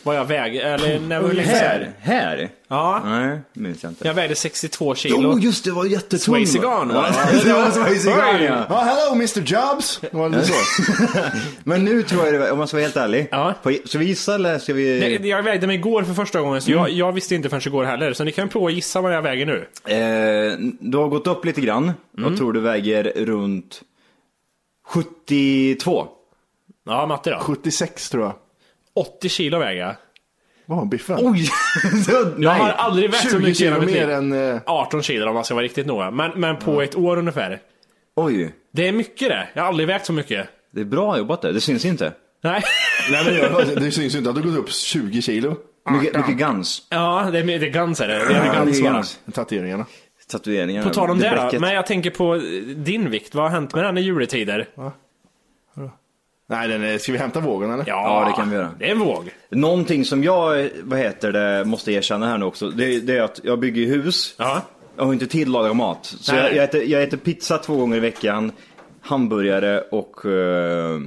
Speaker 1: Vad jag vägde? Eller när vi
Speaker 3: Här? Här?
Speaker 1: Ja.
Speaker 3: Nej, minns jag inte.
Speaker 1: Jag vägde 62 kilo.
Speaker 3: Jo, just det, var jättetung.
Speaker 1: Swayzegan va?
Speaker 3: Det var Swayzegan ja.
Speaker 5: Ja, hello Mr Jobs. Var det så?
Speaker 3: Men nu tror jag det, om man ska vara helt ärlig. På, ska vi gissa eller ska vi...
Speaker 1: Nej, Jag vägde mig igår för första gången, så
Speaker 3: Mm.
Speaker 1: jag, jag visste inte förrän igår heller. Så ni kan prova att gissa vad jag väger nu.
Speaker 3: Eh, du har gått upp lite grann. Jag tror du väger runt 72.
Speaker 1: Ja, Matte då?
Speaker 5: 76 tror jag.
Speaker 1: 80 kilo väger jag.
Speaker 5: Vad biffen?
Speaker 3: Oj!
Speaker 1: Jag har aldrig vägt så
Speaker 5: 20
Speaker 1: mycket i hela
Speaker 5: kilo
Speaker 1: mitt
Speaker 5: mer
Speaker 1: liv.
Speaker 5: än... eh,
Speaker 1: 18 kilo om man ska vara riktigt noga. Men, men på ett år ungefär.
Speaker 3: Oj,
Speaker 1: Det är mycket det. Jag har aldrig vägt så mycket.
Speaker 3: det är bra jobbat där. Det syns inte.
Speaker 1: Nej.
Speaker 5: Nej, men det, det syns ju inte att du gått upp 20 kilo.
Speaker 3: Mycket, mycket guns.
Speaker 1: Ja, det är, det är Guns är det. Det är Guns bara.
Speaker 5: Tatueringarna.
Speaker 3: Tatueringar.
Speaker 1: På tal om det, då.
Speaker 3: bläcket.
Speaker 1: Men jag tänker på eh, din vikt. Vad har hänt med den i juletider?
Speaker 5: Nej, den är, ska vi hämta vågen eller?
Speaker 3: Ja, det kan vi göra.
Speaker 1: Det är en våg.
Speaker 3: Någonting som jag, vad heter det, måste erkänna här nu också. Det, det är att jag bygger ju hus.
Speaker 1: Ja.
Speaker 3: Jag har inte tid att laga mat. Så
Speaker 1: Nej.
Speaker 3: jag, jag, äter, jag äter pizza två gånger i veckan, hamburgare och eh,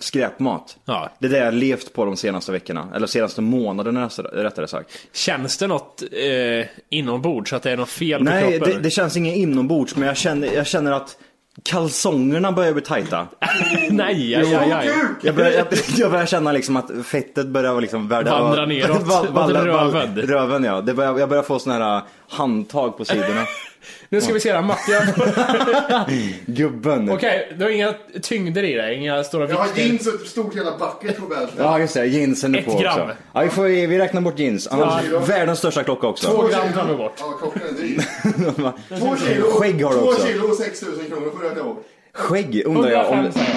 Speaker 3: skräpmat.
Speaker 1: Ja.
Speaker 3: Det är det jag har levt på de senaste veckorna. Eller senaste månaderna nästa- rättare sagt.
Speaker 1: Känns det något eh, inombords? Att det är något fel på
Speaker 3: Nej,
Speaker 1: kroppen?
Speaker 3: det, det känns inget inombords men jag känner, jag känner att kalsongerna börjar bli tajta.
Speaker 1: Nej, aj, aj, aj.
Speaker 3: Jag börjar, jag, jag börjar känna liksom att fettet börjar liksom värda
Speaker 1: Vandra neråt,
Speaker 3: Val-
Speaker 1: åt
Speaker 3: valla- vall-
Speaker 1: röven.
Speaker 3: Röven ja. Det börjar, jag börjar få såna här äh, handtag på sidorna.
Speaker 1: Nu ska vi se här, Matti.
Speaker 3: Gubben.
Speaker 1: Okej, du har inga tyngder i dig? Inga stora
Speaker 5: Jag har
Speaker 1: vikter?
Speaker 5: jeans och ett stort jävla bucket på bältet.
Speaker 3: Ja just det, jeansen är
Speaker 1: Ett
Speaker 3: på
Speaker 1: gram.
Speaker 3: också. Ja, vi, får, vi räknar bort jeans. Annars,
Speaker 5: kilo.
Speaker 3: Världens största klocka också.
Speaker 1: Två gram tar vi bort.
Speaker 5: Ja, klockan är dyr. Två kilo,
Speaker 3: Skägg har du
Speaker 5: två
Speaker 3: också.
Speaker 5: kilo och 6 000 kronor får jag ta ihåg.
Speaker 3: Skägg undrar jag om...
Speaker 1: 105, säger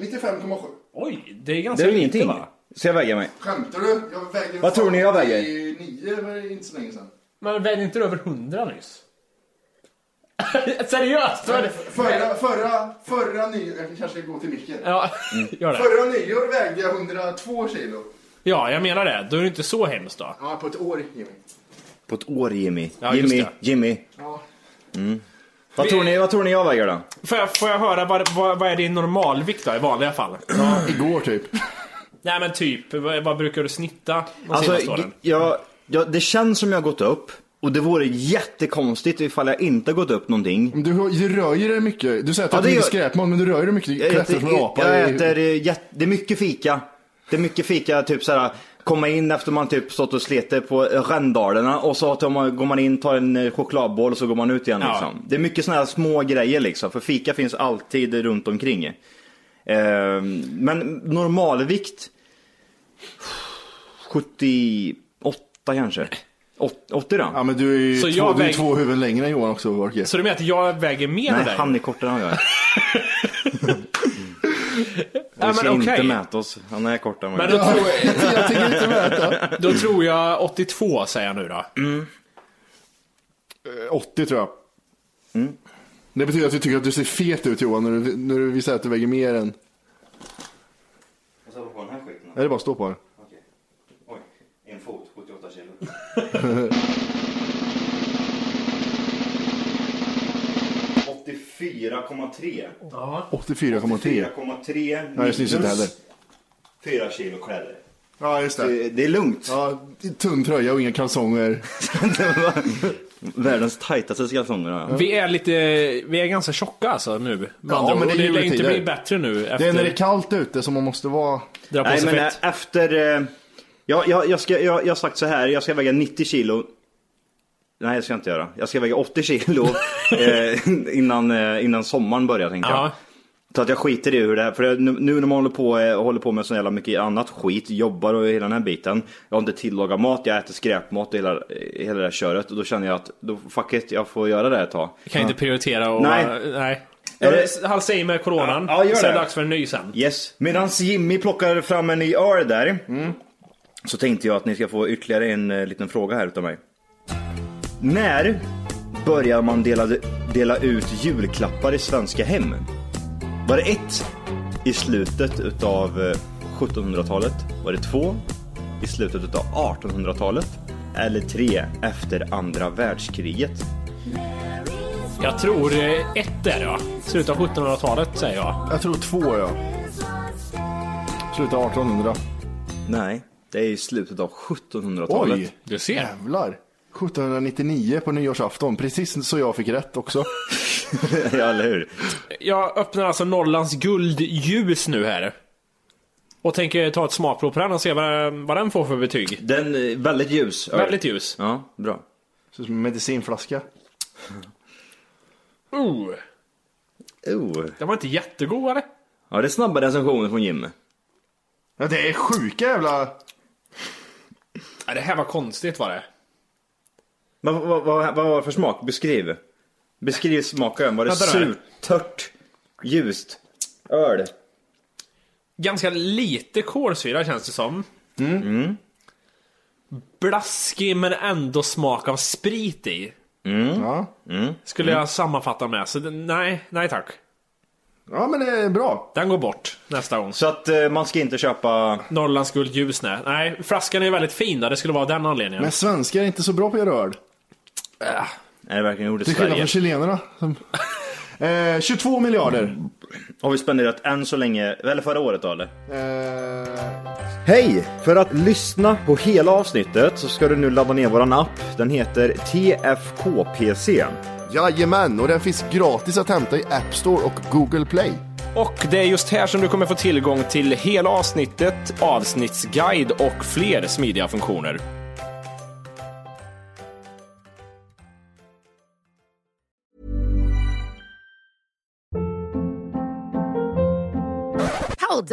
Speaker 5: 95,7.
Speaker 1: Oj, det är
Speaker 3: Det är
Speaker 1: ganska
Speaker 3: väl
Speaker 1: lite,
Speaker 3: ingenting?
Speaker 1: va?
Speaker 3: Ska jag väga mig?
Speaker 5: Skämtar du? Jag väger
Speaker 3: Vad tror ni jag väger?
Speaker 5: 9 var inte så länge sedan.
Speaker 1: Men vägde inte du över 100 nyss? Seriöst? Vad är det?
Speaker 5: Förra, förra, förra nyår, jag kanske ska gå till micken.
Speaker 1: Ja,
Speaker 3: Mm.
Speaker 1: gör det.
Speaker 5: Förra nyår vägde jag 102 kilo.
Speaker 1: Ja, jag menar det. Då är det inte så hemskt då.
Speaker 5: Ja, på ett år Jimmy.
Speaker 3: På ett år Jimmy.
Speaker 1: Ja, just
Speaker 3: Jimmy,
Speaker 1: det.
Speaker 3: Jimmy. Mm.
Speaker 5: Ja.
Speaker 3: Vad tror, ni, vad tror ni jag väger då?
Speaker 1: Får jag, får jag höra, vad, vad, vad är din normalvikt då i vanliga fall?
Speaker 5: Igår typ.
Speaker 1: Nej men typ, vad, vad brukar du snitta de senaste
Speaker 3: Alltså,
Speaker 1: åren?
Speaker 3: jag, jag, det känns som jag gått upp. Och det vore jättekonstigt ifall jag inte gått upp någonting.
Speaker 5: Du, hör- du rör ju dig mycket. Du säger att du äter
Speaker 3: Ja, det
Speaker 5: mycket
Speaker 3: gör-
Speaker 5: skräpmat, men du rör ju dig mycket. Du
Speaker 3: Jag
Speaker 5: klättrar som en
Speaker 3: äter,
Speaker 5: apa.
Speaker 3: jag
Speaker 5: i-
Speaker 3: äter eh, jätte, det är mycket fika. Det är mycket fika, typ såhär, komma in efter man typ stått och slitit på Rändalerna och så tar man, går man in, tar en eh, chokladboll och så går man ut igen
Speaker 1: Ja.
Speaker 3: liksom. Det är mycket sådana här små grejer liksom, för fika finns alltid runt omkring. Eh, men normalvikt 78 kanske? Åt- 80 då?
Speaker 5: Ja, men du är ju
Speaker 1: Så
Speaker 5: två,
Speaker 1: jag
Speaker 5: du är
Speaker 1: väg-
Speaker 5: två huvuden längre än Johan också, Wolke.
Speaker 1: Så du menar att jag väger mer än
Speaker 3: Nej,
Speaker 1: dig?
Speaker 3: han är kortare än jag är.
Speaker 1: Ja,
Speaker 3: Vi ska
Speaker 1: men
Speaker 3: inte
Speaker 1: okej.
Speaker 3: mäta oss, han är kortare än
Speaker 1: Men
Speaker 3: jag
Speaker 1: då
Speaker 3: är.
Speaker 1: tror jag,
Speaker 5: jag tänker inte mäta.
Speaker 1: då tror jag 82 säger jag nu då.
Speaker 3: Mm.
Speaker 5: 80 tror jag.
Speaker 3: Mm.
Speaker 5: Det betyder att du tycker att du ser fet ut Johan, när du, när du visar att du väger mer än...
Speaker 3: Jag sätter på den här skiten.
Speaker 5: Är det bara att stå på den?
Speaker 3: Oj, en fot, 78 kilo. 84,3.
Speaker 5: 84,3.
Speaker 3: 84,3.
Speaker 5: Nej, det syns inte heller.
Speaker 3: 4 kilo kläder.
Speaker 5: Ja, just det.
Speaker 3: Det är lugnt.
Speaker 5: Ja, tunn tröja och inga kalsonger.
Speaker 3: Världens tajtaste kalsonger har jag.
Speaker 1: Vi är lite, vi är ganska tjocka alltså nu. med
Speaker 5: Ja,
Speaker 1: andra
Speaker 5: men
Speaker 1: ord.
Speaker 5: det är
Speaker 1: Och det lär
Speaker 5: juletider.
Speaker 1: inte bli bättre nu efter...
Speaker 5: Det är när det är kallt ute som man måste vara...
Speaker 1: Dra på
Speaker 3: Nej,
Speaker 1: sig
Speaker 3: men
Speaker 1: fett.
Speaker 3: eh, efter... eh, Ja, jag, jag, ska, jag, jag har sagt så här, jag ska väga 90 kilo. Nej, det ska jag inte göra. Jag ska väga 80 kilo eh, innan, eh, innan sommaren börjar, tänker jag.
Speaker 1: Ja.
Speaker 3: Så att jag skiter i hur det här, för nu, nu när man håller på, eh, håller på med så jävla mycket annat skit, jobbar och hela den här biten. Jag har inte tillagat mat, jag äter skräpmat och hela, eh, hela det här köret. Och då känner jag att, då, fuck it, jag får göra det här ett tag.
Speaker 1: Jag kan inte prioritera och...
Speaker 3: Nej.
Speaker 1: nej.
Speaker 3: Är det-
Speaker 1: Jag halsar i med coronan.
Speaker 3: Ja, ja, gör
Speaker 1: så är
Speaker 3: det.
Speaker 1: det dags för en ny sen.
Speaker 3: Yes. Medan Jimmy plockar fram en ny öl där. Så tänkte jag att ni ska få ytterligare en eh, liten fråga här utav mig. När börjar man dela, dela ut julklappar i svenska hem? Var det ett i slutet utav eh, 1700-talet? Var det två i slutet utav 1800-talet? Eller tre efter andra världskriget?
Speaker 1: Jag tror eh, ett är det va? Slutet av 1700-talet säger jag.
Speaker 5: Jag tror två, ja. Slutet av 1800.
Speaker 3: Nej, det är i slutet av 1700-talet.
Speaker 5: Oj!
Speaker 1: Du ser.
Speaker 5: Jävlar. 1799 på nyårsafton, precis så jag fick rätt också.
Speaker 3: ja, eller hur?
Speaker 1: Jag öppnar alltså Norrlands guldljus nu här. Och tänker ta ett smakprov på den och se vad, vad den får för betyg.
Speaker 3: Den är väldigt ljus. öl.
Speaker 1: Väldigt ljus.
Speaker 3: Ja, bra.
Speaker 5: Så som en medicinflaska.
Speaker 1: Oh,
Speaker 3: Oh.
Speaker 1: den var inte jättegod eller?
Speaker 3: Ja, det är snabba recensioner från Jim.
Speaker 5: Ja, det är sjuka jävla...
Speaker 1: Ja, det här var konstigt var det.
Speaker 3: Vad vad- vad- vad var det för smak? Beskriv. Beskriv smaken. Var det
Speaker 1: Vänta där.
Speaker 3: surt, tört, ljust, öl?
Speaker 1: Ganska lite kolsyra känns det som.
Speaker 3: Mm.
Speaker 1: Blaskig men ändå smak av sprit i.
Speaker 5: Ja.
Speaker 1: Skulle
Speaker 7: Mm.
Speaker 1: jag sammanfatta med. Så det, nej, nej tack.
Speaker 5: ja, men det är bra.
Speaker 1: Den går bort nästa gång.
Speaker 3: Så att eh, man ska inte köpa...
Speaker 1: Norrlands guldljus nej. Nej, flaskan är väldigt fin då. Det skulle vara av den anledningen.
Speaker 5: Men svenskar är inte så bra på att göra öl.
Speaker 3: Är det verkligen ordet
Speaker 5: Till skillnad
Speaker 3: Sverige?
Speaker 5: från chilenarna. som- Eh, 22 miljarder.
Speaker 3: Har vi spenderat än så länge, eller förra året då eller?
Speaker 5: Eh,
Speaker 3: Hej! För att lyssna på hela avsnittet så ska du nu ladda ner våran app. Den heter TFKPC.
Speaker 5: jajamän, och den finns gratis att hämta i App Store och Google Play.
Speaker 7: Och det är just här som du kommer få tillgång till hela avsnittet, avsnittsguide och fler smidiga funktioner.
Speaker 11: Hold